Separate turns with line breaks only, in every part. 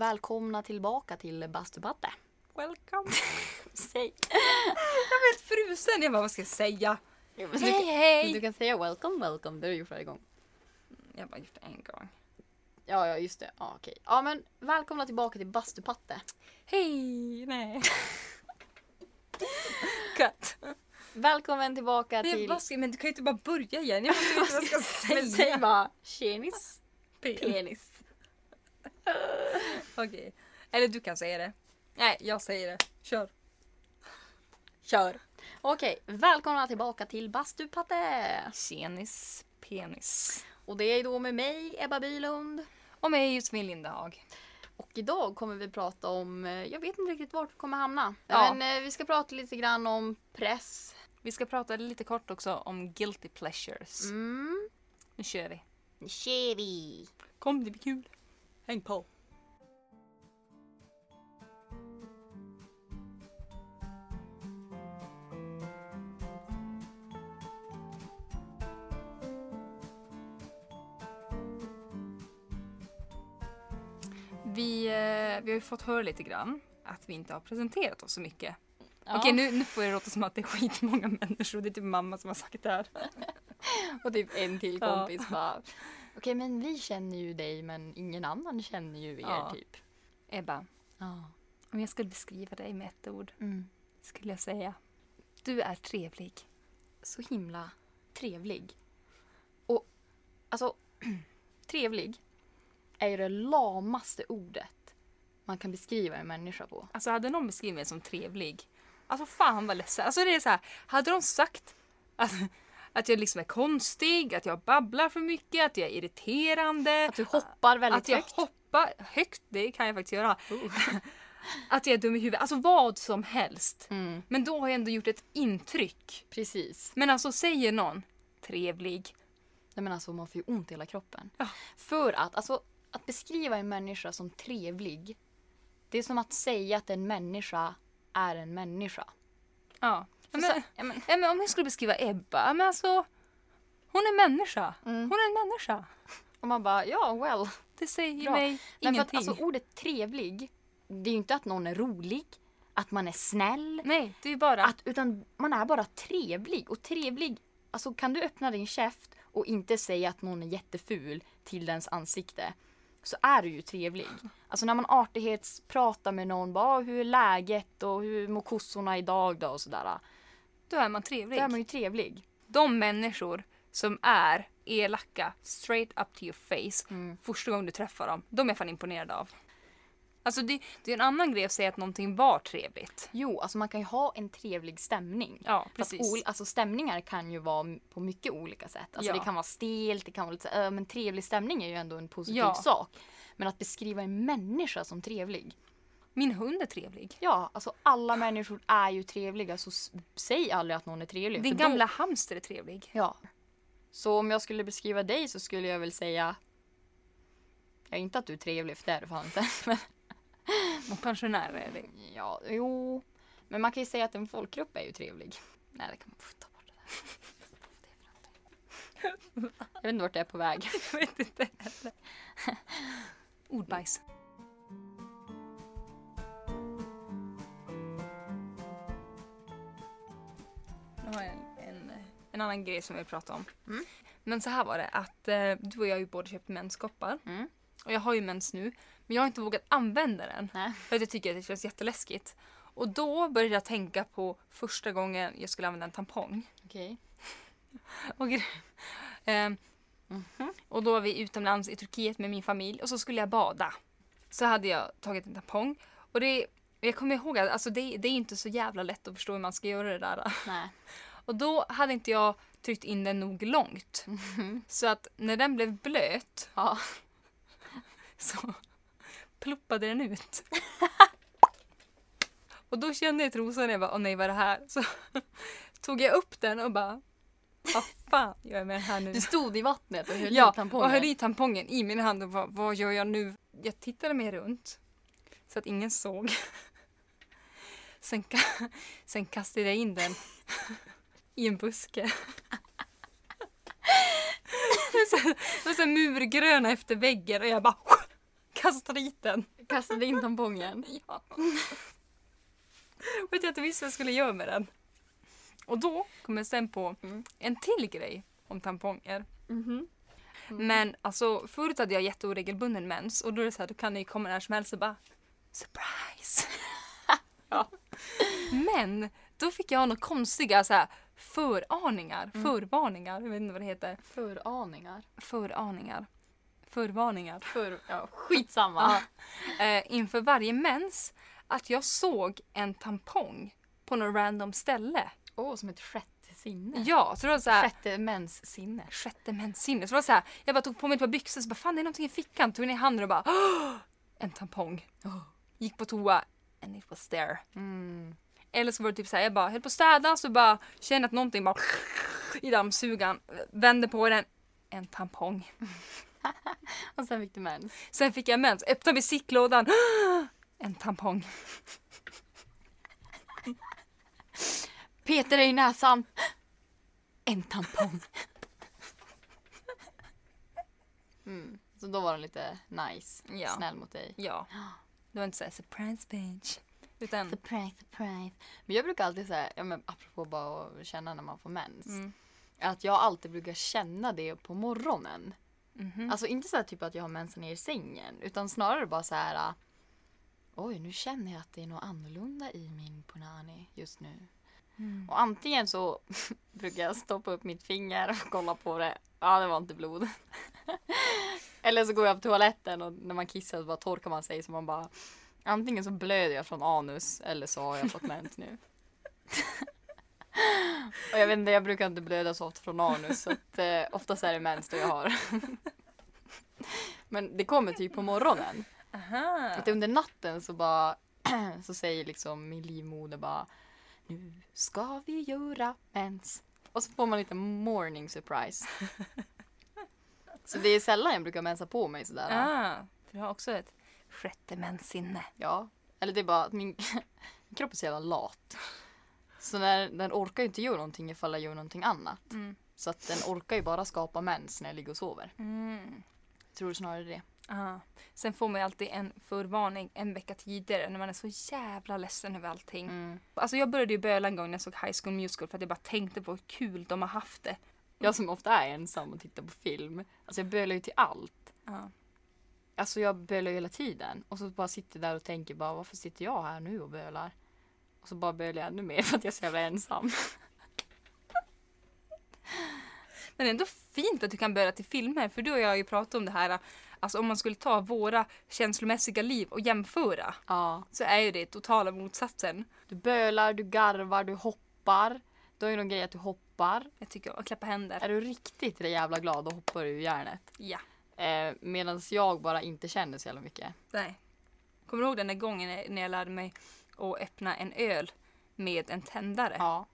Välkomna tillbaka till Bastubatte.
Welcome.
Säg.
Jag är helt frusen. Jag bara, vad ska jag säga? Alltså,
Hej hej! Du kan säga welcome welcome, det har du gjort varje gång.
Jag har bara gjort det en gång.
Ja, ja just det. Ja, okej. Ja men välkomna tillbaka till Bastupatte.
Hej! Nej. Cut.
Välkommen tillbaka
Nej,
till...
vad ska, men du kan ju inte bara börja igen. Jag måste veta vad jag ska
Men säg
säga.
bara tjenis.
Okej.
Penis.
Eller du kan säga det. Nej, jag säger det. Kör.
Kör. Okej, välkomna tillbaka till Bastupatte.
Tjenis penis.
Och det är då med mig, Ebba Bylund.
Och mig Josefin Lindhag.
Och idag kommer vi prata om, eh, jag vet inte riktigt vart vi kommer hamna.
Ja.
Men eh, vi ska prata lite grann om press.
Vi ska prata lite kort också om guilty pleasures.
Mm.
Nu kör vi.
Nu kör vi!
Kom, det blir kul. Häng på. Vi, eh, vi har ju fått höra lite grann att vi inte har presenterat oss så mycket. Okej, nu, nu får det låta som att det är skitmånga människor. Det är typ mamma som har sagt det här.
Och typ en till
Ja.
kompis bara. Okej men vi känner ju dig men ingen annan känner ju er
Ja.
typ.
Ebba,
Ja.
om jag skulle beskriva dig med ett ord,
Mm.
skulle jag säga. Du är trevlig.
Så himla trevlig. Och alltså trevlig är ju det lamaste ordet man kan beskriva en människa på.
Alltså hade någon beskrivit mig som trevlig, alltså fan vad ledsen. Alltså det är så här, hade de sagt att, att jag liksom är konstig, att jag babblar för mycket, att jag är irriterande.
Att du hoppar väldigt
att jag
högt. Oh.
hoppar högt, det kan jag faktiskt göra. att jag är dum i huvudet, alltså vad som helst.
Mm,
Men då har jag ändå gjort ett intryck.
precis.
Men alltså säger någon trevlig,
Nej men alltså man får ju ont i hela kroppen.
Ja.
För att, alltså att beskriva en människa som trevlig. Det är som att säga att en människa är en människa.
ja.
För
Men,
så- ja, men,
ja, men om jag skulle beskriva Ebba, ja, men alltså hon är människa.
Mm.
Hon är en människa.
Och man bara, ja well.
Det säger
Bra.
mig
Men för att,
ingenting.
alltså, ordet trevlig, det är ju inte att någon är rolig, att man är snäll,
Nej, det är bara...
att, utan man är bara trevlig. Och trevlig, alltså kan du öppna din käft och inte säga att någon är jätteful till dens ansikte så är du ju trevlig. Alltså när man artighetspratar med någon, bara "Ah, hur är läget och hur mår kossorna idag då och sådär.
då är man trevlig.
Då är man ju trevlig.
De människor som är elaka straight up to your face första gången du träffar dem, de är jag fan imponerad av. Alltså det, det är en annan grej att säga att någonting var trevligt.
Jo, alltså man kan ju ha en trevlig stämning.
Ja,
Fast
precis.
ol- alltså stämningar kan ju vara m- på mycket olika sätt. Alltså
Ja.
Det kan vara stelt, det kan vara lite så här, "Äh, men trevlig stämning är ju ändå en positiv
Ja.
sak. Men att beskriva en människa som trevlig.
Min hund är trevlig.
Ja, alltså alla människor är ju trevliga så s- säg aldrig att någon är trevlig.
Din
för då-
gamla hamster är trevlig.
Ja. Så om jag skulle beskriva dig så skulle jag väl säga Ja, inte att du är trevlig för det är du fan inte. Men,
Och pensionärer är det.
ja, jo. Men man kan ju säga att en folkgrupp är ju trevlig. Nej, det kan man få ta bort det där. Jag vet inte vart det är på väg.
Jag vet inte heller. Ordbajs. Nu har jag en, en, en annan grej som vi pratar om.
Mm.
Men så här var det att eh, du och jag har ju båda köpt menskoppar.
Mm.
Och jag har ju mens nu. Men jag har inte vågat använda den.
Nej.
För att jag tycker att det känns jätteläskigt. Och då började jag tänka på första gången jag skulle använda en tampong.
Okej.
Och, gre- Ehm, och då var vi utomlands i Turkiet med min familj och så skulle jag bada. Så hade jag tagit en tampong. Och det, och jag kommer ihåg att alltså det, det är inte så jävla lätt att förstå hur man ska göra det där.
Nej.
Och då hade inte jag tryckt in den nog långt. Så att när den blev blöt
Ja.
så ploppade den ut. Och då kände jag i trosan och jag bara, åh nej vad är det här? Så tog jag upp den och bara, vad fan gör jag med den här nu?
Du stod i vattnet och höll
Ja,
i tampongen.
och höll i tampongen i min hand och bara, vad gör jag nu? Jag tittade mig runt så att ingen såg. Sen, ka- sen kastade jag in den i en buske. Det var så- det var så murgröna efter väggen och jag bara kastade hit den.
Kastade in tampongen.
Ja. Vet jag inte visste vad jag skulle göra med den. Och då kom jag sen på
Mm.
en till grej om tamponger.
Mhm.
Men alltså förut hade jag jätteoregelbunden mens och då är det så här, då kan det ju komma när som helst och bara surprise.
Ja.
Men då fick jag några konstiga så här, föraningar, förvarningar, jag vet inte vad det heter.
Föraningar.
Föraningar. Förvarningar.
För, ja, skitsamma.
Ja. Eh, inför varje mens att jag såg en tampong på något random ställe.
Åh, som ett sjätte sinne.
Ja, så då var det så här,
Sjätte mäns sinne.
sjätte menssinne. Så det var så här, jag bara tog på mig ett par byxor så bara fan det är någonting i fickan. Tog ner handen och bara "Åh!" en tampong. Gick på toa and it was there.
Mm.
Eller så var det typ så här, jag bara höll på att städa så bara känner att någonting bara i dammsugan. Vänder på den. En tampong.
Och sen fick du mens.
Sen fick jag mens. Öppnade besicklådan. "Åh!" En tampong.
Peter dig i näsan. En tampong. Mm. Så då var den lite nice.
Ja.
Snäll mot dig.
Ja. Det var inte såhär surprise bitch. Utan
Surprise, surprise. Men jag brukar alltid säga, ja, men apropå bara att känna när man får mens.
Mm.
Att jag alltid brukar känna det på morgonen.
Mhm.
Alltså inte så här typ att jag har mensen ner i sängen. Utan snarare bara så här. ah, Oj, nu känner jag att det är något annorlunda i min punani just nu.
Mm.
Och antingen så brukar jag stoppa upp mitt finger och kolla på det. Ja, det var inte blod. Eller så går jag på toaletten och när man kissar så bara torkar man sig så man bara Antingen så blöder jag från anus eller så har jag fått mens nu. och jag vet inte, jag brukar inte blöda så ofta från anus så att, eh, oftast är det mens då jag har. Men det kommer typ på morgonen.
Aha.
Att under natten så bara så säger liksom min livmoder bara Nu ska vi göra mens. Och så får man lite morning surprise. Så det är sällan jag brukar mensa på mig sådär.
Ah, för du har också ett sjätte menssinne.
Ja. Eller det är bara att min, min kropp är så jävla lat. Så när, den orkar ju inte göra någonting ifall jag gör någonting annat.
Mm.
Så att den orkar ju bara skapa mens när jag ligger och sover.
Mm.
Jag tror snarare det.
Ah. Sen får man ju alltid en förvarning en vecka tidigare när man är så jävla ledsen över allting. Alltså jag började ju böla en gång när jag såg High School Musical för att jag bara tänkte på hur kul de har haft det.
Jag som ofta är ensam och tittar på film. Alltså jag bölar ju till allt.
Ah.
Alltså jag bölar ju hela tiden och så bara sitter där och tänker bara varför sitter jag här nu och bölar? Och så bara bölar jag ännu mer för att jag är så jävla ensam.
Men ändå fint att du kan börja till filmer för du och jag har ju pratat om det här. Alltså om man skulle ta våra känslomässiga liv och jämföra
Ja.
så är ju det totala motsatsen.
Du bölar, du garvar, du hoppar. Du har ju någon grej att du hoppar.
Jag tycker om att klappa händer.
Är du riktigt det jävla glad då hoppar du ur järnet.
Ja.
Eh, Medan jag bara inte känner så jävla mycket.
Nej. Kommer du ihåg den där gången när- när jag lärde mig att öppna en öl med en tändare?
Ja.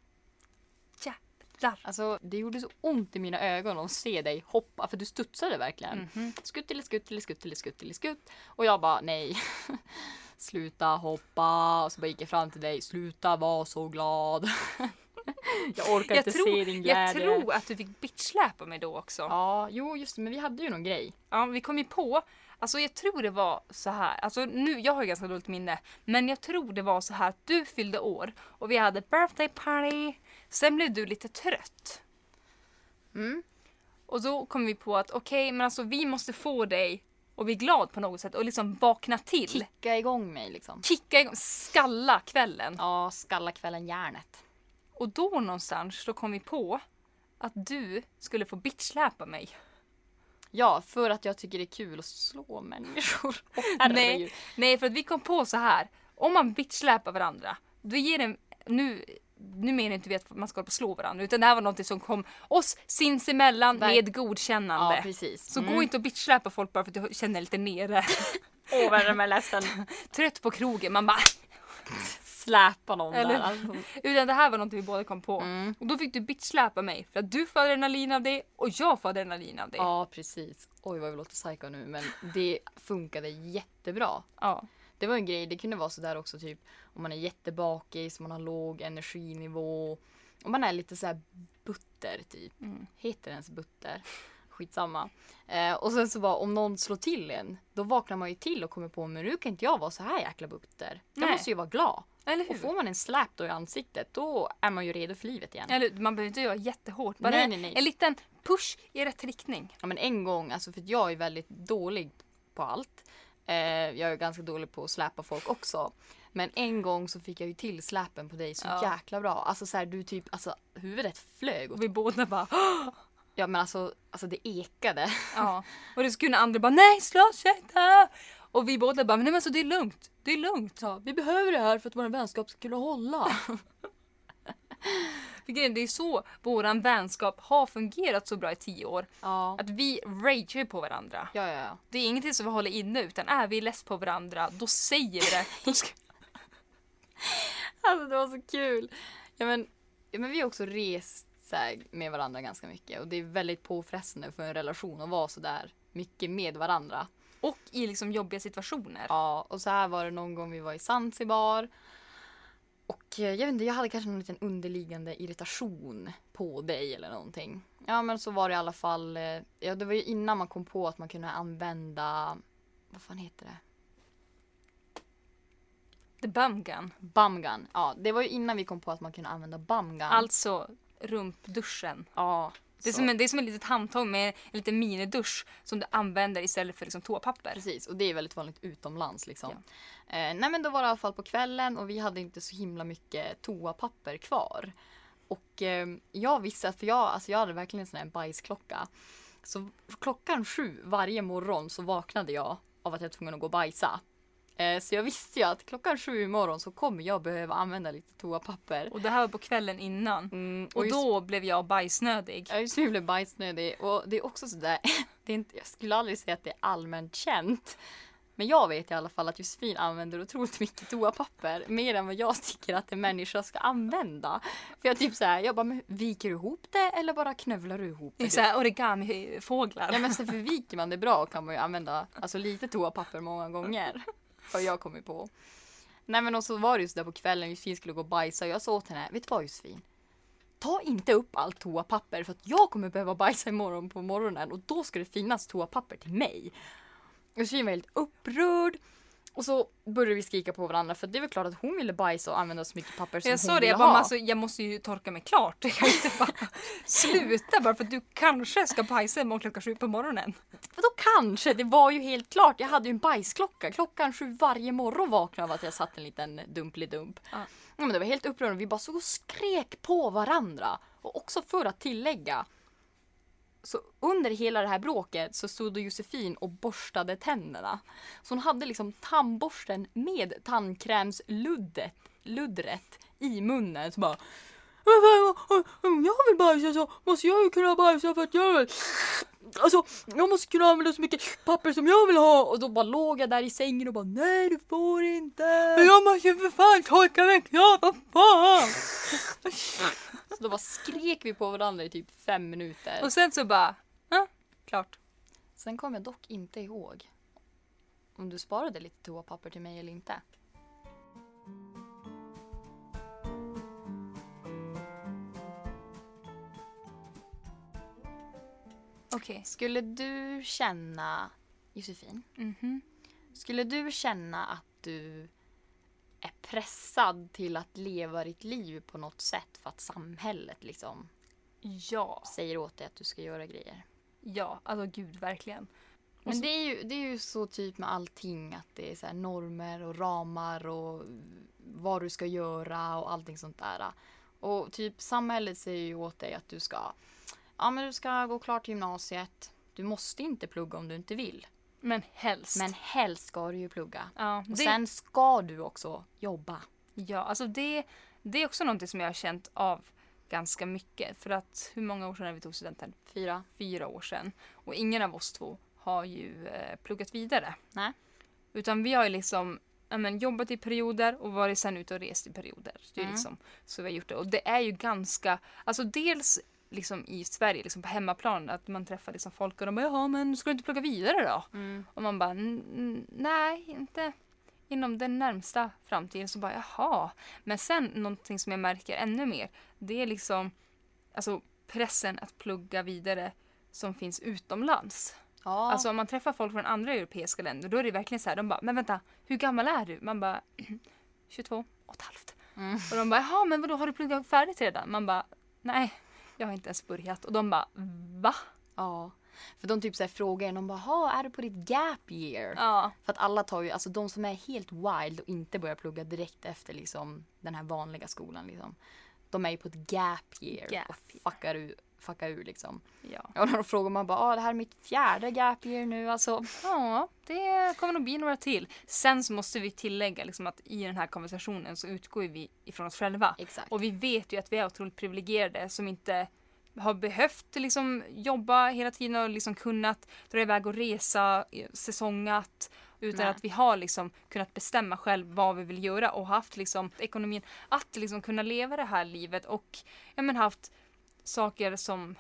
Jävlar!
Alltså det gjorde så ont i mina ögon att se dig hoppa för du studsade verkligen.
Mhm.
Skuttele, skuttele, skuttele, skuttele, skutt. Och jag bara nej. Sluta hoppa. Och så bara gick jag fram till dig. Sluta vara så glad. jag orkar
Jag,
inte se
tror,
din
jag
glädje.
tror att du fick bitchsläpa mig då också. Ja.
Ja, jo just det, men vi hade ju någon grej.
vi kom ju på, alltså jag tror det var så här, alltså nu, jag har ju ganska dåligt minne, men jag tror det var så här att du fyllde år och vi hade birthday party, sen blev du lite trött.
Mm.
Och då kom vi på att okej, men alltså vi måste få dig och bli glad på något sätt och liksom vakna till.
Kicka igång mig liksom.
Kicka igång, skalla kvällen.
Ja, skalla kvällen järnet.
Och då någonstans då kom vi på att du skulle få bitchsläpa mig.
Ja, för att jag tycker det är kul att slå människor. Åh, herregud.
Nej, nej, för att vi kom på så här. Om man bitchsläpar varandra, då ger det... Nu, nu menar inte vi att man ska hålla på och slå varandra, utan det här var något som kom oss sinsemellan
Ver-
med
Ja,
godkännande.
precis. Mm.
så gå inte och bitchsläpa folk bara för att du känner dig lite nere.
Åh, vad den är ledsen.
Trött på krogen, man bara...
Släpa någon
Eller-
där. Alltså.
Utan det här var något vi båda kom på.
Mm.
Och då fick du bitchsläpa mig för att du får adrenalin av det och jag får adrenalin av det.
Ja, precis. Oj, vad vi låter psycho nu, men det funkade jättebra.
Ja.
Det var en grej, det kunde vara sådär också typ om man är jättebakis, man har låg
Mm.
energinivå, om man är lite såhär butter typ. Heter det ens butter? skitsamma. Eh, och sen så bara om någon slår till en, då vaknar man ju till och kommer på men nu kan inte jag vara så här jäkla butter. Jag
Nej.
måste ju vara glad.
Eller
Och
hur?
får man en släp då i ansiktet, då är man ju redo för livet igen.
Eller, hur? man behöver inte göra jättehårt. Bara
Nej, nej, nej.
en liten push i rätt riktning.
Ja men en gång, alltså för att jag är väldigt dålig på allt. Eh, jag är ganska dålig på att släpa folk också. Men en gång så fick jag ju till släpen på dig så
Ja.
jäkla bra. Alltså så här, du typ, alltså huvudet flög. åt-
Och vi båda bara "Åh!"
Ja men alltså, alltså det ekade.
Ja. Och då skulle andra bara nej slå inte! Och vi båda bara nej men så det är lugnt. Det är lugnt. Så.
Vi behöver det här för att vår vänskap ska kunna hålla.
För grejen, det är så våran vänskap har fungerat så bra i tio år.
Ja.
Att vi rager på varandra.
Ja, ja, ja.
Det är ingenting som vi håller inne utan är vi less på varandra då säger vi det. Då ska...
Alltså det var så kul. Ja men, ja, men vi har också rest så här, med varandra ganska mycket och det är väldigt påfrestande för en relation att vara så där mycket med varandra.
Och i liksom jobbiga situationer.
Ja, och så här var det någon gång vi var i Zanzibar. Och eh, jag vet inte, jag hade kanske någon liten underliggande irritation på dig eller någonting. Ja, men så var det i alla fall. eh, Ja, det var ju innan man kom på att man kunde använda, vad fan heter det?
The bum gun.
Bumgun. Ja, det var ju innan vi kom på att man kunde använda bumgun.
Alltså rumpduschen.
Ja.
Det är,
så.
som en, det är som ett litet handtag med en liten minidusch som du använder istället för liksom toapapper.
Precis, och det är väldigt vanligt utomlands. Liksom.
Ja.
Eh, nej, men då var det i alla fall på kvällen och vi hade inte så himla mycket toapapper kvar. Och eh, jag visste att, för jag, alltså jag hade verkligen en sån här bajsklocka. Så klockan sju varje morgon så vaknade jag av att jag var tvungen att gå och bajsa. Eh, så jag visste ju att klockan sju i morgon så kommer jag behöva använda lite toapapper.
Och det här var på kvällen innan.
Mm,
Och
just-
då blev jag bajsnödig.
jag är så himla bajsnödig och det är också sådär, det är inte, jag skulle aldrig säga att det är allmänt känt. Men jag vet i alla fall att Josefin använder otroligt mycket toapapper. Mer än vad jag tycker att en människa ska använda. För jag typ såhär, jag bara, men viker du ihop det eller bara knövlar du ihop
Det är
det?
såhär origamifåglar.
Nej men så förviker man det bra kan man ju använda alltså, lite toapapper många gånger. Har jag kommit på. Nej men och så var det ju sådär på kvällen, Josefin skulle gå och bajsa och jag sa åt henne, vet du vad Josefin? Ta inte upp allt toapapper för att jag kommer behöva bajsa imorgon på morgonen och då ska det finnas toapapper till mig. Josefin var helt upprörd. Och så började vi skrika på varandra för det är väl klart att hon ville bajsa och använda så mycket papper som
jag sa
hon
det,
ville
jag bara, men
ha.
alltså, jag måste ju torka mig klart. Jag kan inte bara sluta bara för att du kanske ska bajsa imorgon klockan sju på morgonen.
Vadå kanske? Det var ju helt klart. Jag hade ju en bajsklocka. Klockan sju varje morgon vaknade av att jag satt en liten dumplidump.
Ja.
Ja, men det var helt upprörande. Vi bara så och skrek på varandra. Och också för att tillägga. Så under hela det här bråket så stod då Josefin och borstade tänderna. Så hon hade liksom tandborsten med tandkrämsluddet luddret i munnen. Så bara... Om jag vill bajsa så måste jag ju kunna bajsa för att jag vill... Alltså, jag måste kunna använda så mycket papper som jag vill ha. Och då bara låg jag där i sängen och bara nej du får inte.
Jag måste ju för fan torka mig klart, vad fan!
Så då bara skrek vi på varandra i typ fem minuter.
Och sen så bara, ja, klart.
Sen kom jag dock inte ihåg om du sparade lite toapapper till mig eller inte.
Okej.
Skulle du känna, Josefin,
Mhm.
skulle du känna att du är pressad till att leva ditt liv på något sätt för att samhället liksom
Ja,
säger åt dig att du ska göra grejer?
ja, alltså gud verkligen.
Men det är, ju, det är ju så typ med allting att det är så här normer och ramar och vad du ska göra och allting sånt där. Och typ samhället säger ju åt dig att du ska, ja men du ska gå klart gymnasiet. Du måste inte plugga om du inte vill.
Men helst.
Men helst ska du ju plugga.
ja,
Och
det,
sen ska du också jobba.
ja, alltså det, det är också någonting som jag har känt av ganska mycket. För att hur många år sedan är vi tog studenten?
Fyra.
Fyra år sedan. Och ingen av oss två har ju eh, pluggat vidare.
Nej.
Utan vi har ju liksom ja, men, jobbat i perioder och varit sen ute och rest i perioder. Det är ju
Mm.
liksom så vi har gjort det. Och det är ju ganska, alltså dels liksom i Sverige, liksom på hemmaplan, att man träffar liksom folk och de bara “jaha, men ska du inte plugga vidare då?”
Mm.
Och man bara "N- n- “nej, inte inom den närmsta framtiden”. Så bara “jaha”. Men sen någonting som jag märker ännu mer, det är liksom alltså pressen att plugga vidare som finns utomlands.
Ja.
Alltså om man träffar folk från andra europeiska länder då är det verkligen så här, de bara “men vänta, hur gammal är du?” Man bara “22 och ett halvt”.
Mm.
Och de bara “jaha, men vadå, har du pluggat färdigt redan?” Man bara “nej, jag har inte ens börjat” och de bara “va?”
ja. För de typ så här frågar en, de bara "Ha, är du på ditt gap year?”
Ja,
För att alla tar ju, alltså de som är helt wild och inte börjar plugga direkt efter liksom den här vanliga skolan liksom. De är ju på ett gap year
Gap
och fuckar ur, fuckar ur liksom.
ja.
Och när de frågar man bara, ah, det här är mitt fjärde gap year nu alltså.
ja det kommer nog bli några till. Sen så måste vi tillägga liksom att i den här konversationen så utgår ju vi ifrån oss själva.
Exakt.
Och vi vet ju att vi är otroligt privilegierade som inte har behövt liksom jobba hela tiden och liksom kunnat dra iväg och resa eh, säsongat. Utan
Nej.
att vi har liksom kunnat bestämma själv vad vi vill göra och haft liksom ekonomin att liksom kunna leva det här livet och ja, men haft saker som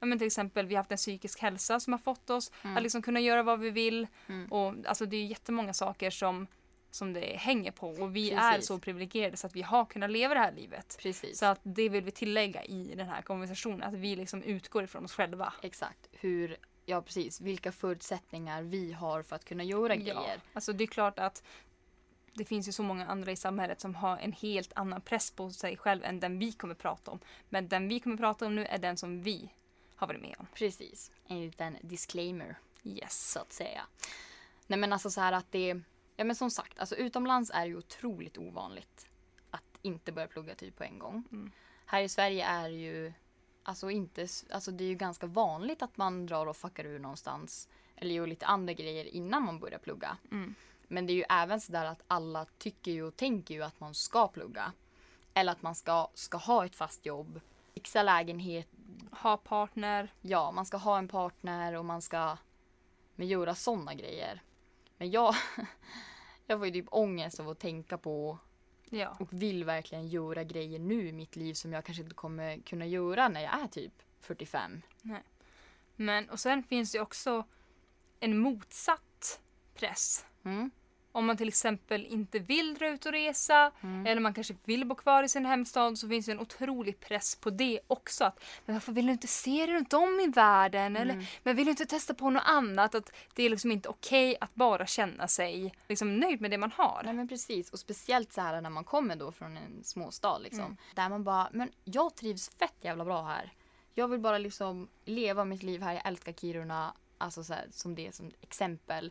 ja, men till exempel vi har haft en psykisk hälsa som har fått oss
Mm.
att liksom kunna göra vad vi vill. Och, alltså, det är ju jättemånga saker som, som det hänger på och vi är
Precis.
så privilegierade så att vi har kunnat leva det här livet.
Precis.
Så att det vill vi tillägga i den här konversationen, att vi liksom utgår ifrån oss själva.
Exakt. Hur, ja precis, vilka förutsättningar vi har för att kunna göra grejer.
Alltså det är klart att det finns ju så många andra i samhället som har en helt annan press på sig själv än den vi kommer prata om. Men den vi kommer prata om nu är den som vi har varit med om.
Precis. En liten disclaimer.
Yes.
så att säga. Nej men alltså så här att det, ja men som sagt, alltså utomlands är det ju otroligt ovanligt att inte börja plugga typ på en gång. Här i Sverige är det ju, alltså inte, s- alltså det är ju ganska vanligt att man drar och fuckar ur någonstans eller gör lite andra grejer innan man börjar plugga. Men det är ju även så där att alla tycker ju och tänker ju att man ska plugga. Eller att man ska, ska ha ett fast jobb, fixa lägenhet,
Ha partner.
ja, man ska ha en partner och man ska men, göra sådana grejer. Men jag, jag får ju typ ångest av att tänka på
Ja.
och vill verkligen göra grejer nu i mitt liv som jag kanske inte kommer kunna göra när jag är typ 45.
Men, och sen finns det ju också en motsatt press.
Mm.
Om man till exempel inte vill dra ut och resa eller man kanske vill bo kvar i sin hemstad så finns det en otrolig press på det också. Att, men varför vill du inte se dig runt om i världen? Eller, men vill du inte testa på något annat? Att det är liksom inte okej att bara känna sig liksom nöjd med det man har.
Nej men precis och speciellt så här när man kommer då från en småstad liksom. Där man bara, men jag trivs fett jävla bra här. Jag vill bara liksom leva mitt liv här, jag älskar Kiruna. Alltså så här, som det som exempel.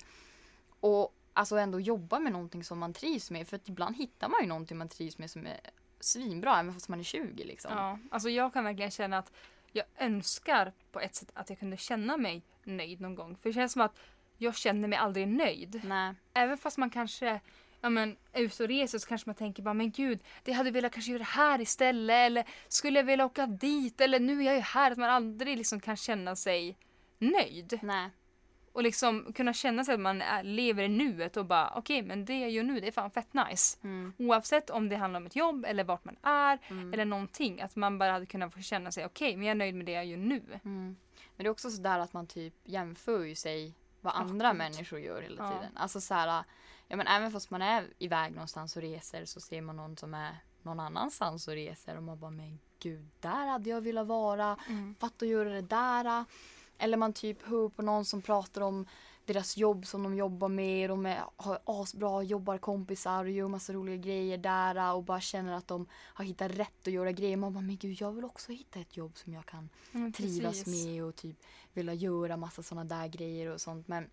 Och alltså ändå jobba med någonting som man trivs med. För att ibland hittar man ju någonting man trivs med som är svinbra även fast man är 20 liksom.
Ja, alltså jag kan verkligen känna att jag önskar på ett sätt att jag kunde känna mig nöjd någon gång. För det känns som att jag känner mig aldrig nöjd.
Nej.
Även fast man kanske ja, men, är ute och reser så kanske man tänker bara men gud, det hade jag velat kanske göra här istället eller skulle jag vilja åka dit eller nu är jag ju här. Att man aldrig liksom kan känna sig nöjd.
Nej.
Och liksom kunna känna sig att man är, lever i nuet och bara okej men det jag gör nu det är fan fett nice.
Mm.
Oavsett om det handlar om ett jobb eller vart man är eller någonting. Att man bara hade kunnat få känna sig okej men jag är nöjd med det jag gör nu.
Mm. Men det är också sådär att man typ jämför ju sig vad andra
gud.
människor gör hela
Ja.
tiden. Alltså så här, ja men även fast man är iväg någonstans och reser så ser man någon som är någon annanstans och reser och man bara men gud där hade jag velat vara. Fatta att göra det där. Eller man typ hör på någon som pratar om deras jobb som de jobbar med. De är, har asbra jobbarkompisar och gör massa roliga grejer där och bara känner att de har hittat rätt att göra grejer. Man bara men gud jag vill också hitta ett jobb som jag kan
Ja, men
trivas
precis.
med och typ vilja göra massa sådana där grejer och sånt. Men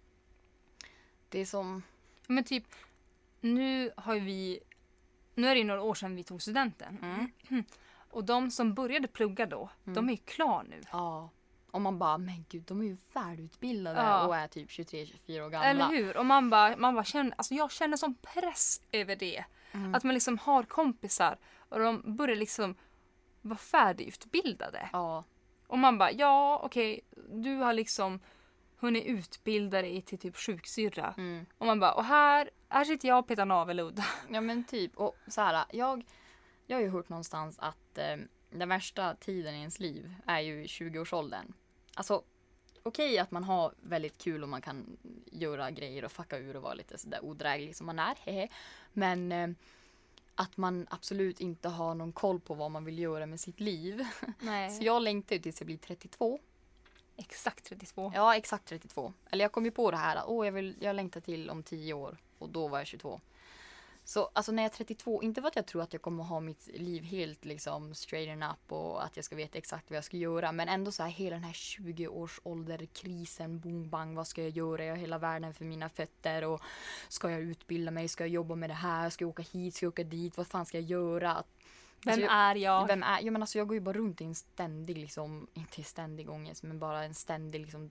det är som...
Ja, Men typ, nu har ju vi... Nu är det ju några år sedan vi tog studenten.
Mm.
Och de som började plugga då, de är ju klar nu.
Ja. Om man bara, men gud de är ju välutbildade
Ja.
och är typ 23-24 år
Eller
gamla.
hur? Och man bara, man bara känner, alltså jag känner sån press över det.
Mm.
Att man liksom har kompisar och de börjar liksom vara färdigutbildade.
Ja.
Och man bara, ja okej, du har liksom hunnit utbilda dig till typ sjuksyrra.
Mm.
Och man bara, och här, här sitter jag och petar naveludd.
ja men typ. Och så här, jag, jag har ju hört någonstans att eh, den värsta tiden i ens liv är ju i 20-årsåldern. Alltså okej att man har väldigt kul och man kan göra grejer och fucka ur och vara lite sådär odräglig som man är. Hehe. Men eh, att man absolut inte har någon koll på vad man vill göra med sitt liv.
Nej.
Så jag längtar ju tills jag blir 32
Exakt 32.
Ja, exakt 32. Eller jag kom ju på det här att åh, jag, vill, jag längtar till om 10 år och då var jag 22. Så alltså när jag är 32, inte för att jag tror att jag kommer ha mitt liv helt liksom straighten up och att jag ska veta exakt vad jag ska göra. Men ändå så här hela den här 20 års krisen, boom bang, vad ska jag göra? Jag har hela världen för mina fötter och ska jag utbilda mig? Ska jag jobba med det här? Ska jag åka hit? Ska jag åka dit? Vad fan ska jag göra? Alltså,
Vem
jag-
är jag?
Vem är, jag, men alltså jag går ju bara runt i en ständig, liksom, inte i ständig ångest, men bara en ständig liksom,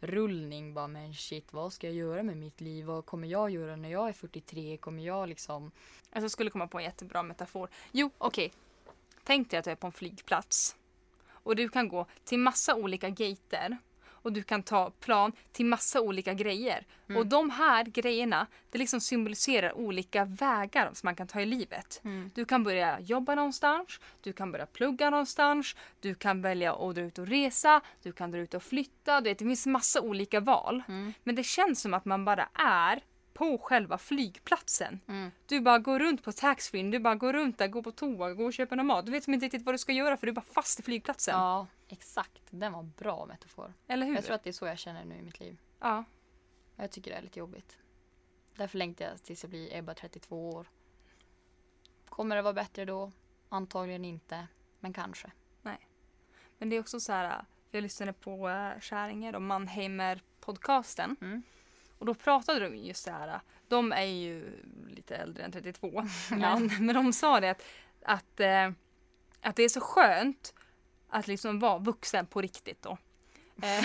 tankerullning. Bara, men shit, vad ska jag göra med mitt liv? Vad kommer jag göra när jag är 43? Kommer jag liksom...
Alltså, jag skulle komma på en jättebra metafor. Jo, okej. Tänk dig att du är på en flygplats. Och du kan gå till massa olika gater. Och du kan ta plan till massa olika grejer. Och de här grejerna, det liksom symboliserar olika vägar som man kan ta i livet. Du kan börja jobba någonstans, du kan börja plugga någonstans, du kan välja att dra ut och resa, du kan dra ut och flytta. Du vet, det finns massa olika val. Men det känns som att man bara är på själva flygplatsen.
Mm.
Du bara går runt på taxfree, du bara går runt där, går på toa, går och köper någon mat. Du vet som inte riktigt vad du ska göra för du är bara fast i flygplatsen.
Ja, Mm. exakt. Den var en bra metafor.
Eller hur?
Jag tror att det är så jag känner nu i mitt liv.
Ja.
Jag tycker det är lite jobbigt. Därför längtar jag tills jag blir Ebba 32 år. Kommer det vara bättre då? Antagligen inte, men kanske.
Men det är också så här, jag lyssnade på eh, Käringer och Mannheimer-podcasten.
Mm.
Och då pratade de ju just det här, de är ju lite äldre än 32, men, men de sa det att, att, eh, att det är så skönt att liksom vara vuxen på riktigt då. Eh,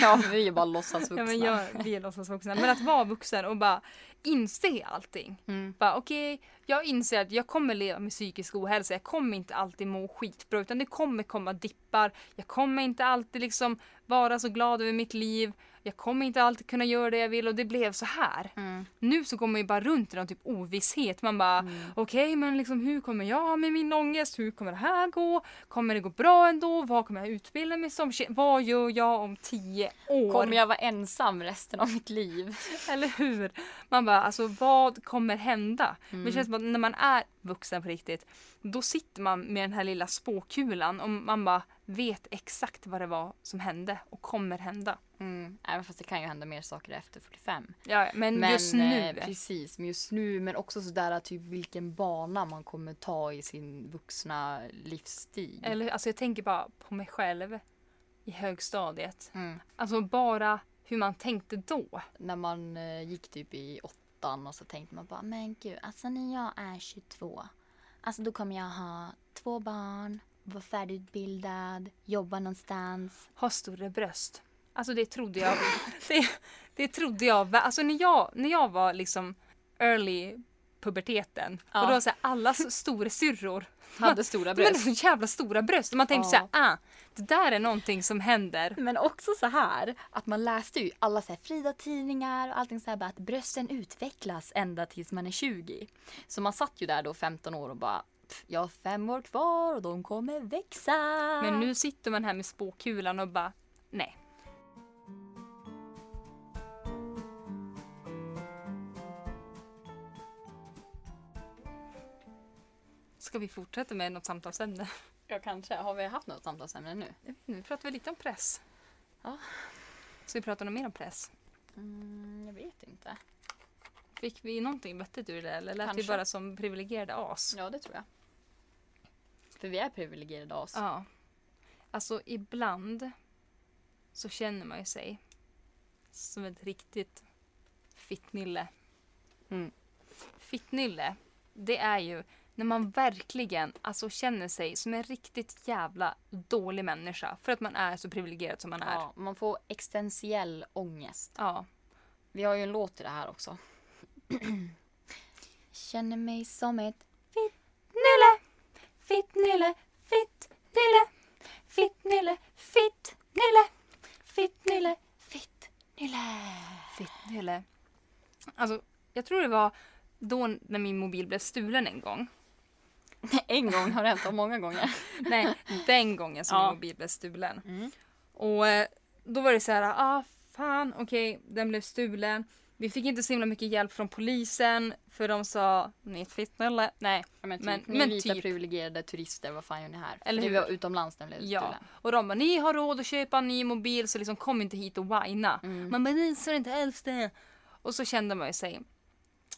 Ja, för vi är ju bara låtsasvuxna.
Ja, men jag, vi är låtsasvuxna. Men att vara vuxen och bara inse allting.
Mm.
Bara okej, jag inser att jag kommer leva med psykisk ohälsa. Jag kommer inte alltid må skitbra utan det kommer komma dippar. Jag kommer inte alltid liksom vara så glad över mitt liv. Jag kommer inte alltid kunna göra det jag vill och det blev så här.
Mm.
Nu så går man ju bara runt i någon typ ovisshet. Man bara okej men liksom hur kommer jag med min ångest? Hur kommer det här gå? Kommer det gå bra ändå? Vad kommer jag utbilda mig som? Shit, Vad gör jag om tio år?
Kommer jag vara ensam resten av mitt liv?
Eller hur? Man bara, alltså vad kommer hända? Men
Mm.
det känns som att när man är vuxen på riktigt, då sitter man med den här lilla spåkulan och man bara vet exakt vad det var som hände och kommer hända.
Mm. Även fast det kan ju hända mer saker efter 45.
Ja, men,
Men
just nu.
eh, Precis, men just nu. Men också sådär typ vilken bana man kommer ta i sin vuxna livsstil.
Eller, alltså jag tänker bara på mig själv i högstadiet.
Mm.
Alltså bara hur man tänkte då.
När man eh, gick typ i åttan och så tänkte man bara men gud, alltså när jag är 22. Alltså då kommer jag ha två barn, vara färdigutbildad, jobba någonstans.
ha större bröst. Alltså det trodde jag. det, det trodde jag. va- Alltså när jag, när jag var liksom early puberteten
Ja.
och då var så här, alla s- stora syrror
Hade stora
de hade
bröst.
så jävla stora bröst och man tänkte
Ja.
så här, ah, det där är någonting som händer.
Men också så här att man läste ju alla så här Frida-tidningar och allting så här bara att brösten utvecklas ända tills man är 20. Så man satt ju där då 15 år och bara "Pff, jag har fem år kvar och de kommer växa.
Men nu sitter man här med spåkulan och bara nej. Ska vi fortsätta med något samtalsämne?
Jag kanske, har vi haft något samtalsämne nu?
Jag vet inte, vi pratar väl lite om press.
Ja.
Så vi pratar nog mer om press.
Mm, jag vet inte.
Fick vi någonting vettigt ur det eller lät vi
Kanske.
bara som privilegierade as?
Ja, det tror jag. För vi är privilegierade av oss.
Ja. Alltså ibland så känner man ju sig som ett riktigt fittnylle.
Mm.
Fittnylle, det är ju när man verkligen alltså, känner sig som en riktigt jävla dålig människa för att man är så privilegierad som man är.
Ja, man får existentiell ångest.
ja.
Vi har ju en låt i det här också. Känner mig som ett
Nille, fitt nille, fitt nille, fitt nille, fitt nille, fitt nille,
fitt nylle.
fitt nille. Alltså, jag tror det var då när min mobil blev stulen en gång.
En gång har det hänt, och många gånger.
Nej, den gången som
Ja.
min mobil blev stulen.
Mm.
Och eh, då var det så här, ah fan okej, den blev stulen. Vi fick inte så himla mycket hjälp från polisen för de sa ni är ett fittnölle. Nej.
Ja, men typ,
Men-
ni
men
vita
typ.
privilegierade turister, vad fan gör ni här? Eller
Eller
hur?
hur?
Vi var utomlands när vi blev
Ja.
utstulen.
Och de bara ni har råd att köpa en ny mobil så liksom kom inte hit och whina.
Mm.
Man bara ni ser inte alls det. Och så kände man ju sig.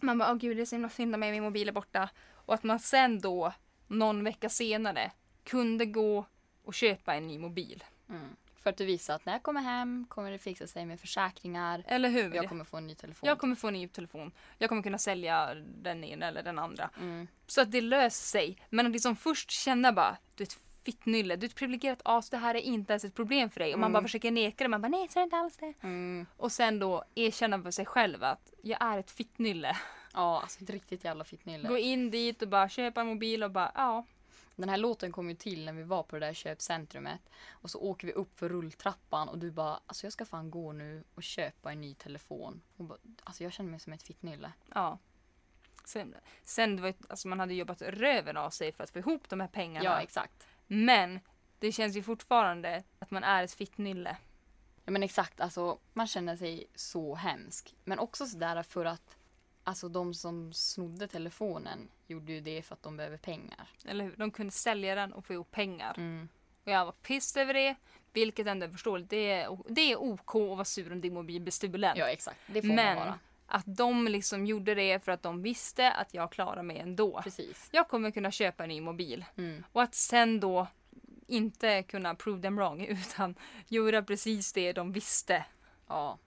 Man bara åh gud det är så himla synd om mig, min mobil är borta. Och att man sen då någon vecka senare kunde gå och köpa en ny mobil.
Mm. För att du visar att när jag kommer hem kommer det fixa sig med försäkringar.
Eller hur?
Jag kommer få en ny telefon.
Jag kommer få en ny telefon. Jag kommer kunna sälja den ena eller den andra.
Mm.
Så att det löser sig. Men att liksom först känna bara, du är ett fittnylle, du är ett privilegierat as, det här är inte ens ett problem för dig. Och man bara försöker neka det, man bara nej så är det inte alls det.
Mm.
Och sen då erkänna för sig själv att jag är ett fittnylle.
Ja, alltså ett riktigt jävla fittnylle.
Gå in dit och bara köpa en mobil och bara ja.
Den här låten kom ju till när vi var på det där köpcentrumet. Och så åker vi upp för rulltrappan och du bara alltså jag ska fan gå nu och köpa en ny telefon. Och bara, alltså jag känner mig som ett fittnylle.
ja. Sen, sen det var, ju- alltså man hade jobbat röven av sig för att få ihop de här pengarna.
Ja exakt.
Men det känns ju fortfarande att man är ett fittnylle.
Ja men exakt alltså man känner sig så hemsk. Men också sådär för att alltså de som snodde telefonen gjorde ju det för att de behöver pengar.
Eller hur? De kunde sälja den och få ihop pengar.
Mm.
Och jag var pissed över det. Vilket ändå är förståeligt. Det är, det är OK att vara sur om din mobil blir stulen.
Ja exakt, det får man
Men
vara.
att de liksom gjorde det för att de visste att jag klarar mig ändå.
Precis.
Jag kommer kunna köpa en ny mobil.
Mm.
Och att sen då inte kunna prove them wrong utan göra precis det de visste.
Ja.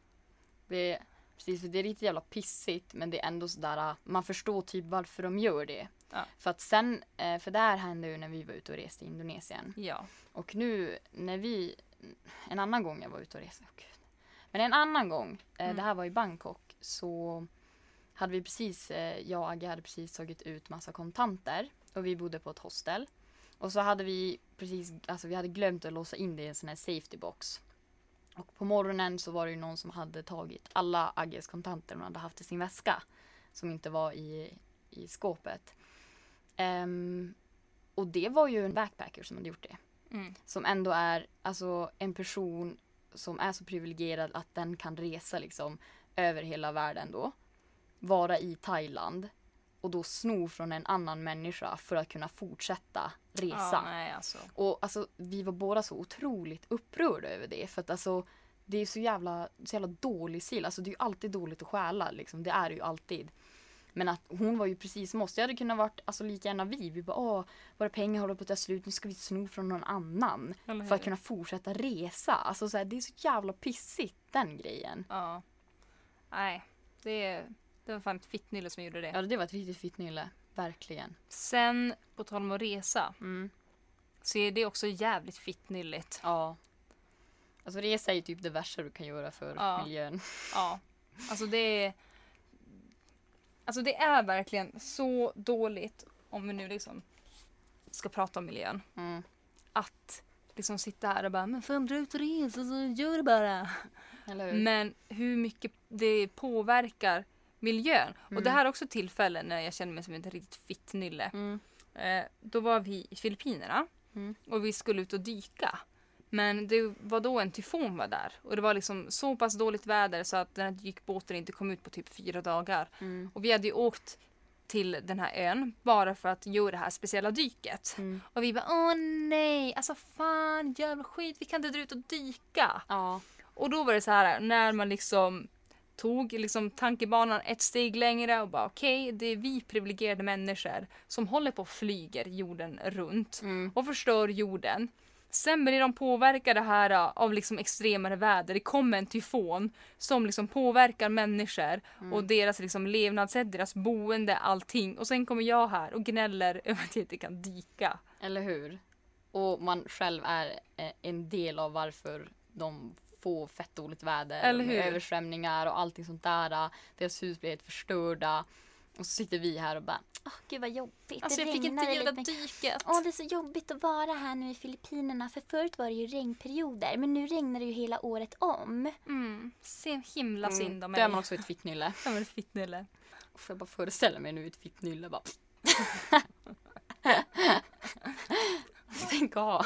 Det är, precis, för det är lite jävla pissigt men det är ändå sådär, äh, man förstår typ varför de gör det.
Ja.
För att sen, eh, för det här hände ju när vi var ute och reste i Indonesien.
Ja.
Och nu när vi, en annan gång jag var ute och reste, åh gud. Men en annan gång, eh, det här var i Bangkok, så hade vi precis, eh, jag och Agge hade precis tagit ut massa kontanter och vi bodde på ett hostel. Och så hade vi precis, alltså vi hade glömt att låsa in det i en sån här safety box. Och på morgonen så var det ju någon som hade tagit alla Agges kontanter hon hade haft i sin väska. Som inte var i, i skåpet. Ehm, och det var ju en backpacker som hade gjort det
Mm.
som ändå är alltså, en person som är så privilegierad att den kan resa liksom, över hela världen då. Vara i Thailand och då sno från en annan människa för att kunna fortsätta
Ja,
resan.
nej alltså.
och alltså, vi var båda så otroligt upprörda över det för att alltså det är så jävla, så jävla dålig stil. Alltså det är ju alltid dåligt att stjäla liksom. Det är det ju alltid. Men att hon var ju precis som oss. Det hade kunnat varit alltså, lika gärna vi. Vi bara åh, våra pengar håller på att ta slut. Nu ska vi sno från någon annan.
Eller hur?
För att kunna fortsätta resa. Alltså så här, det är så jävla pissigt den grejen.
Ja. Nej. Det, det var fan ett fittnylle som gjorde det.
Ja det var ett riktigt fittnylle. Verkligen.
Sen, på tal om att resa,
Mm.
så är det också jävligt fittnylligt.
Ja. Alltså resa är ju typ det värsta du kan göra för
Ja.
miljön.
Ja. Alltså det är... Alltså det är verkligen så dåligt, om vi nu liksom ska prata om miljön,
Mm.
att liksom sitta här och bara “men fan dra ut och resa så gör det bara”.
Eller hur?
Men hur mycket det påverkar miljön. Och det här är också tillfällen när jag känner mig som ett riktigt fittnylle.
Mm.
Eh, då var vi i Filippinerna
Mm.
och vi skulle ut och dyka. Men det var då en tyfon var där och det var liksom så pass dåligt väder så att den här dykbåten inte kom ut på typ fyra dagar.
Mm.
Och vi hade ju åkt till den här ön bara för att göra det här speciella dyket.
Mm.
Och vi bara åh nej, alltså fan jävla skit, vi kan inte dra ut och dyka.
Ja.
Och då var det så här när man liksom tog liksom tankebanan ett steg längre och bara okej, det är vi privilegierade människor som håller på och flyger jorden runt
Mm.
och förstör jorden. Sen blir de påverkade här ah, av liksom extremare väder. Det kommer en tyfon som liksom påverkar människor och deras liksom levnadssätt, deras boende, allting. Och sen kommer jag här och gnäller över att jag inte kan dyka.
Eller hur? Och man själv är eh, en del av varför de får fett dåligt väder.
Eller
med
hur?
Översvämningar och allting sånt där. Deras hus blir helt förstörda. Och så sitter vi här och bara
Åh, gud vad jobbigt.
Alltså
det
jag fick inte
regnar
göra
lite.
dyket.
Åh, det är så jobbigt att vara här nu i Filippinerna. För förut var det ju regnperioder, men nu regnar det ju hela året om.
Mm, så himla synd om
Då Mm, är man
mig.
också ett fittnylle.
Jag var fittnylle.
Får jag bara föreställa mig nu ett fittnylle bara. Tänk att ha.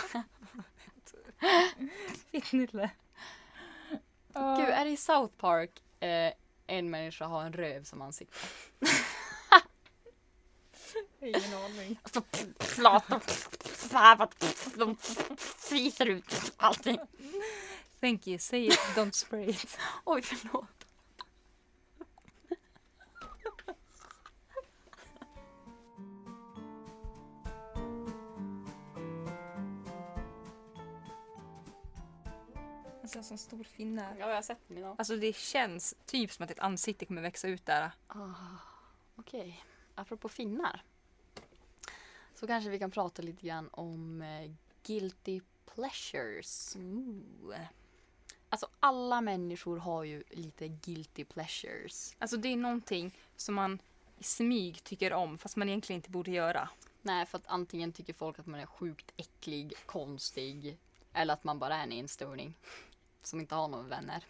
Fittnylle.
Gud, är det i South Park eh, en människa ha en röv som ansikte.
Ingen aning.
Så flat och svävat. De fiser ut allting.
Thank you, say it, don't spray it.
Oj, förlåt.
Alltså jag har sån stor finne.
Ja, jag har sett mina.
Alltså det känns typ som att ett ansikte kommer växa ut där.
Ah, Okej, apropå finnar. Så kanske vi kan prata lite grann om eh, guilty pleasures. Alltså alla människor har ju lite guilty pleasures.
Alltså det är någonting som man i smyg tycker om fast man egentligen inte borde göra.
Nej, för att antingen tycker folk att man är sjukt äcklig, konstig eller att man bara är en enstöring som inte har några vänner.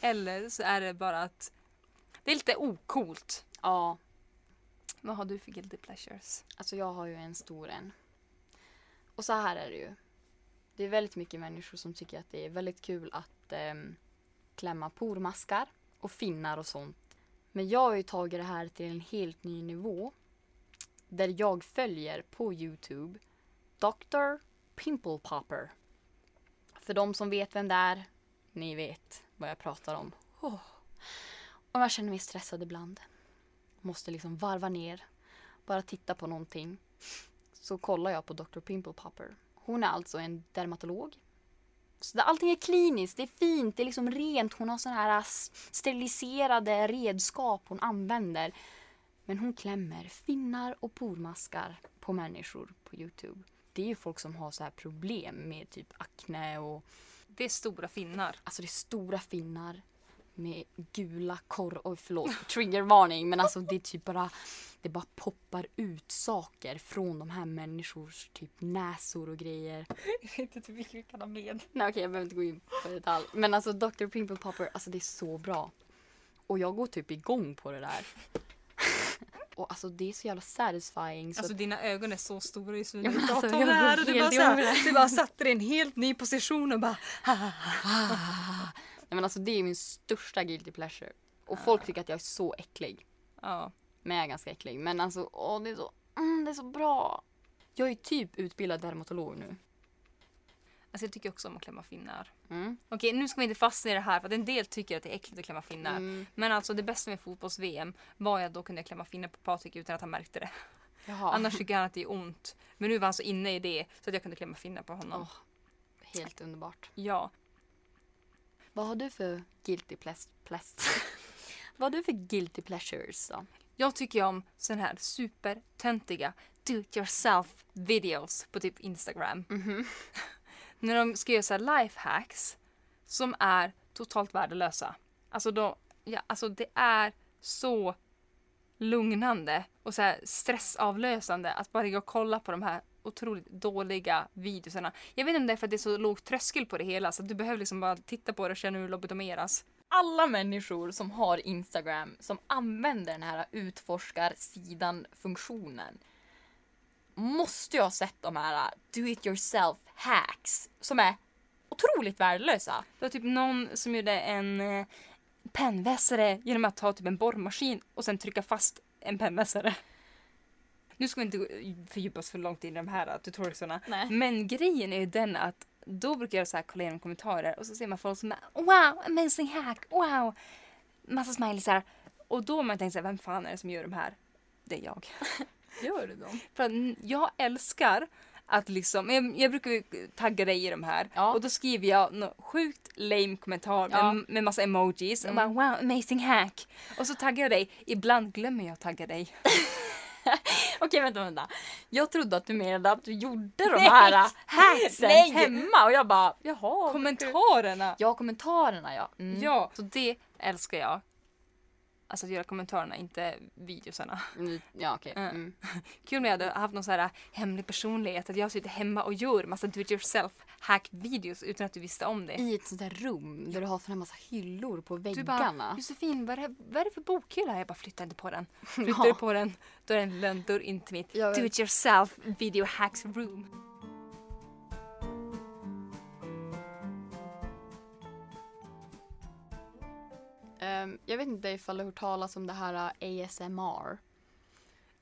Eller så är det bara att det är lite okult.
Ja,
Vad har du för guilty pleasures?
Alltså jag har ju en stor en. Och så här är det ju. Det är väldigt mycket människor som tycker att det är väldigt kul att ehm, klämma pormaskar och finnar och sånt. Men jag har ju tagit det här till en helt ny nivå. Där jag följer på Youtube Dr. Pimple Popper. För de som vet vem det är, ni vet vad jag pratar om. Åh. Och jag känner mig stressad ibland. Måste liksom varva ner bara titta på någonting så kollar jag på Dr. Pimple Popper. Hon är alltså en dermatolog. Så där allting är kliniskt, det är fint, det är liksom rent. Hon har såna här s- steriliserade redskap hon använder. Men hon klämmer finnar och pormaskar på människor på Youtube. Det är ju folk som har så här problem med typ akne och
Det är stora finnar.
Alltså det är stora finnar med gula korv... Oj förlåt, triggervarning. Men alltså det är typ bara... Det bara poppar ut saker från de här människors typ näsor och grejer.
Jag vet inte hur mycket vi kan ha med.
Nej okej jag behöver inte gå in på detalj. Men alltså Dr. Pimple Popper, alltså det är så bra. Och jag går typ igång på det där. Och alltså det är så jävla satisfying. Så
Alltså dina ögon är så stora just nu
Ja,
när
men
du
alltså,
pratar
jag
om det här.
går
Och du, bara
helt
så
igång på
här, du bara satte dig i en helt ny position och bara
Nej, men alltså det är min största guilty pleasure. Och folk tycker att jag är så äcklig.
Ja.
Men jag är ganska äcklig. Men alltså, åh, det, är så, mm, det är så bra. Jag är typ utbildad dermatolog nu.
Alltså jag tycker också om att klämma finnar. Okej, nu ska vi inte fastna i det här för att en del tycker att det är äckligt att klämma finnar.
Mm.
Men alltså det bästa med fotbolls-VM var ju att då kunde jag klämma finnar på Patrik utan att han märkte det.
Jaha.
Annars tycker han att det är ont. Men nu var han så inne i det så att jag kunde klämma finnar på honom.
Åh. Helt underbart.
Ja.
Vad har du för guilty plest, plest? Vad har du för guilty pleasures då?
Jag tycker om sån här supertöntiga do it yourself videos på typ Instagram. När de ska göra så här lifehacks som är totalt värdelösa. Alltså, då, ja, alltså det är så lugnande och så här stressavlösande att bara gå och kolla på de här otroligt dåliga videosarna. Jag vet inte om det är för att det är så låg tröskel på det hela så att du behöver liksom bara titta på det och känna hur du lobotomeras.
Alla människor som har Instagram som använder den här utforskarsidan-funktionen måste ju ha sett de här do it yourself hacks som är otroligt värdelösa.
Det var typ någon som gjorde en eh, pennvässare genom att ta typ en borrmaskin och sen trycka fast en pennvässare. Nu ska vi inte gå- fördjupa oss för långt in i de här eh, tutorialsarna.
Nej.
Men grejen är ju den att då brukar jag så här kolla igenom kommentarer och så ser man folk som är wow, amazing hack, wow, massa smileysar. Och då har man tänkt så här, vem fan är det som gör de här? Det är jag.
Gör du dem?
För att n- jag älskar att liksom, jag, jag brukar ju tagga dig i de här
Ja.
och då skriver jag någon sjukt lame kommentar med,
Ja. Mm.
med massa emojis och bara wow amazing hack. Och så taggar jag dig, ibland glömmer jag att tagga dig.
Okej, vänta, vänta. Jag trodde att du menade att du gjorde de
Nej.
här hacksen
Nej.
hemma och jag bara jaha.
Kommentarerna!
ja, kommentarerna ja. Mm.
Ja, så det älskar jag. Alltså att göra kommentarerna, inte videosarna.
Mm, Ja, okej.
Mm.
Mm.
Kul om jag hade haft någon så här äh, hemlig personlighet, att jag sitter hemma och gör massa do it yourself hack-videos utan att du visste om det.
I ett sånt där rum där du har såna här massa hyllor på
Du
väggarna.
bara, Josefin, vad är, det, vad är det för bokhylla? Jag bara, flytta inte på den. Flyttar du på den, då är det en lönndörr in till mitt
Jag vet.
do it yourself video hacks room.
eh, Ehm, jag vet inte ifall du har hört talas om det här eh, ASMR.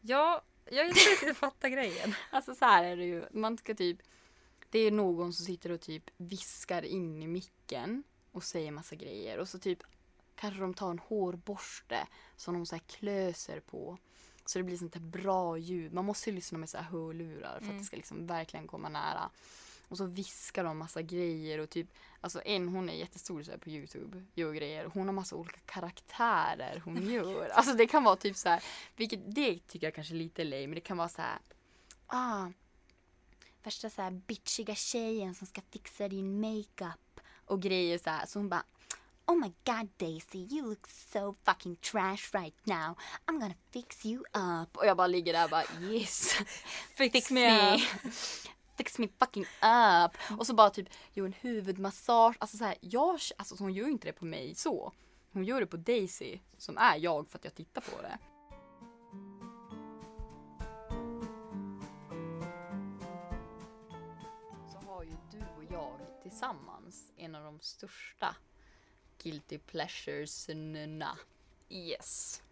Ja, jag inte riktigt fattar grejen.
Alltså så här är det ju. Man ska typ... Det är någon som sitter och typ viskar in i micken och säger massa grejer. Och så typ kanske de tar en hårborste som de så här klöser på. Så det blir sånt här bra ljud. Man måste ju lyssna med så här hörlurar för att det ska liksom verkligen komma nära. Och så viskar de massa grejer och typ, alltså en hon är jättestor så här på youtube, gör grejer. Hon har massa olika karaktärer hon gör. Alltså det kan vara typ så här, vilket det tycker jag kanske är lite lame, men det kan vara så här ah,
Värsta så här bitchiga tjejen som ska fixa din makeup.
och grejer så här. Så hon bara,
Oh my god Daisy, you look so fucking trash right now. I'm gonna fix you up.
och jag bara ligger där och bara yes,
Fix,
me. fix me fucking up. Och så bara typ gör en huvudmassage. Alltså så här, jag, alltså så hon gör ju inte det på mig så. Hon gör det på Daisy som är jag för att jag tittar på det. Så har ju du och jag tillsammans en av de största guilty pleasures-na.
Yes.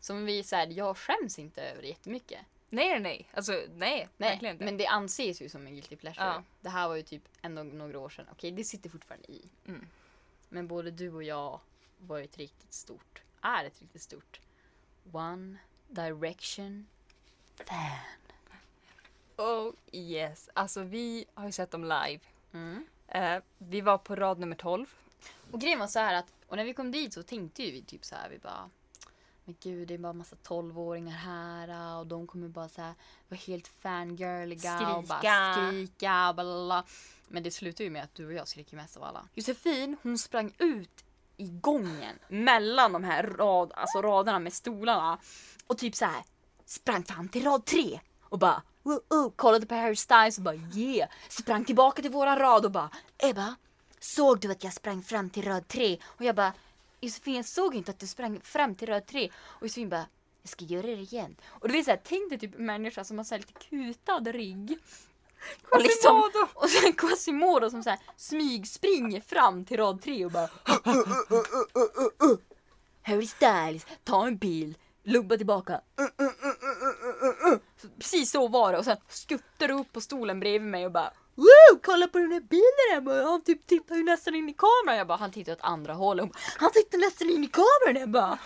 Som vi säger, jag skäms inte över det jättemycket.
Nej, nej, alltså nej,
Nej,
verkligen inte.
men det anses ju som en guilty pleasure.
Ja.
Det här var ju typ ändå några år sedan. Okej, det sitter fortfarande i.
Mm.
Men både du och jag var ju ett riktigt stort, är ett riktigt stort One Direction fan.
Oh yes, alltså vi har ju sett dem live.
Mm.
Eh, vi var på rad nummer 12.
Och grejen var så här att, och när vi kom dit så tänkte ju vi typ så här, vi bara men gud, det är bara massa 12-åringar här och de kommer bara så här vara helt fangirliga och bara
Skrika.
skrika och bla, bla, bla. Men det slutar ju med att du och jag skriker mest av alla. Josefin, hon sprang ut i gången mellan de här rad, alltså raderna med stolarna och typ så här sprang fram till rad tre och bara woo, woo, kollade på Harry Styles och bara yeah, sprang tillbaka till våran rad och bara Ebba, såg du att jag sprang fram till rad tre? Och jag bara Josefin, jag såg inte att du sprang fram till röd tre. Och Josefin bara, jag ska göra det igen. Och du vet såhär, tänk dig typ en människa som har såhär lite kutad rygg. Och liksom,
Quasimodo!
och sen Quasimodo som såhär smygspringer fram till rad tre och bara Harry Styles, ta en bild, lubba tillbaka. Så Precis så var det och sen skuttar du upp på stolen bredvid mig och bara Wow, kolla på den här bilden Emma! Han typ tittar ju nästan in i kameran. Jag bara, han tittar åt andra hållet. Hon bara, Han tittar nästan in i kameran jag bara.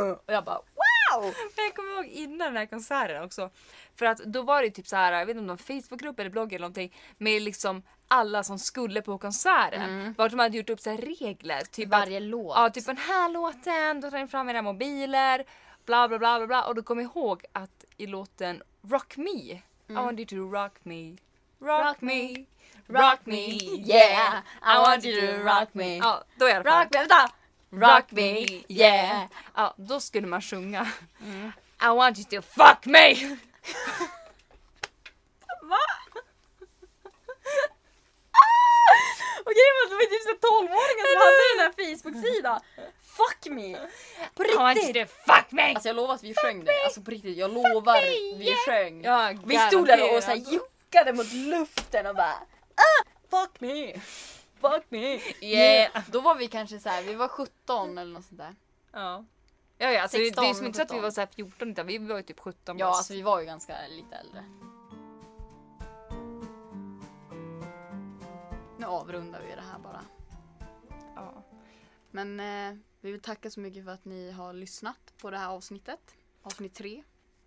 "Uh." Och jag bara wow!
Men jag kommer ihåg innan den här konserten också. För att då var det typ så här, jag vet inte om det var en Facebookgrupp eller blogg eller någonting med liksom alla som skulle på konserten. Vart de hade gjort upp så här regler. Typ
Mm. Varje
att,
låt.
Ja, typ den här låten, då tar ni fram era mobiler, bla bla bla bla bla. Och då kommer jag ihåg att i låten Rock Me,
Mm.
I want you to rock me, rock,
Rock
me,
me.
rock me,
Yeah, I want you to rock me.
Ja, då i alla fall.
Rock me, vänta! Rock me, yeah! Mm.
Ja, då skulle man sjunga I want you to fuck me!
Och grejen var att det var typ så 12-åringar som hade den här Facebook-sidan. Fuck me! På
I want you
riktigt!
to fuck me!
Alltså jag lovar att vi sjöng det. Alltså på riktigt, jag lovar. Vi sjöng.
Ja,
vi stod där och så här
garanterat.
juckade mot luften och bara ah, Fuck me! Fuck me!
Yeah.
Då var vi kanske så här, vi var 17 eller något sånt där.
Ja. Ja, ja, alltså, det är ju
16,
som inte så att vi
17.
var så här 14 utan vi var ju typ 17
Ja,
bast.
alltså vi var ju ganska lite äldre. Nu avrundar vi det här bara.
ja.
Men eh, vi vill tacka så mycket för att ni har lyssnat på det här avsnittet. Avsnitt tre.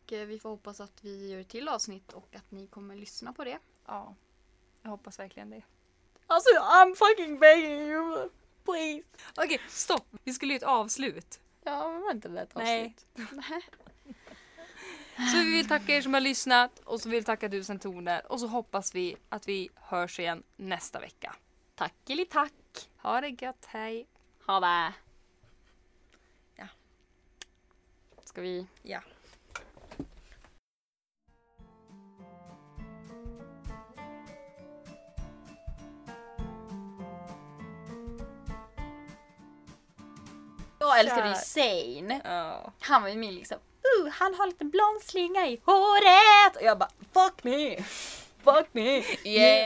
Och, eh, vi får hoppas att vi gör ett till avsnitt och att ni kommer lyssna på det.
ja. Jag hoppas verkligen det.
Alltså I'm fucking begging you. Please.
Okej, stopp! Vi skulle ju ett avslut.
Ja, men var inte det där ett
Nej.
avsnitt?
Så vi vill tacka er som har lyssnat och så vill vi tacka tusen toner och så hoppas vi att vi hörs igen nästa vecka.
Tack eller tack.
Ha det gött, hej!
Ha det.
Ja.
Ska vi?
Ja.
Jag älskar
Kör.
ju Zayn.
Ja.
Han var ju min liksom. Uh, han har en liten blond slinga i håret. Och jag bara fuck me. Fuck me.
Yeah.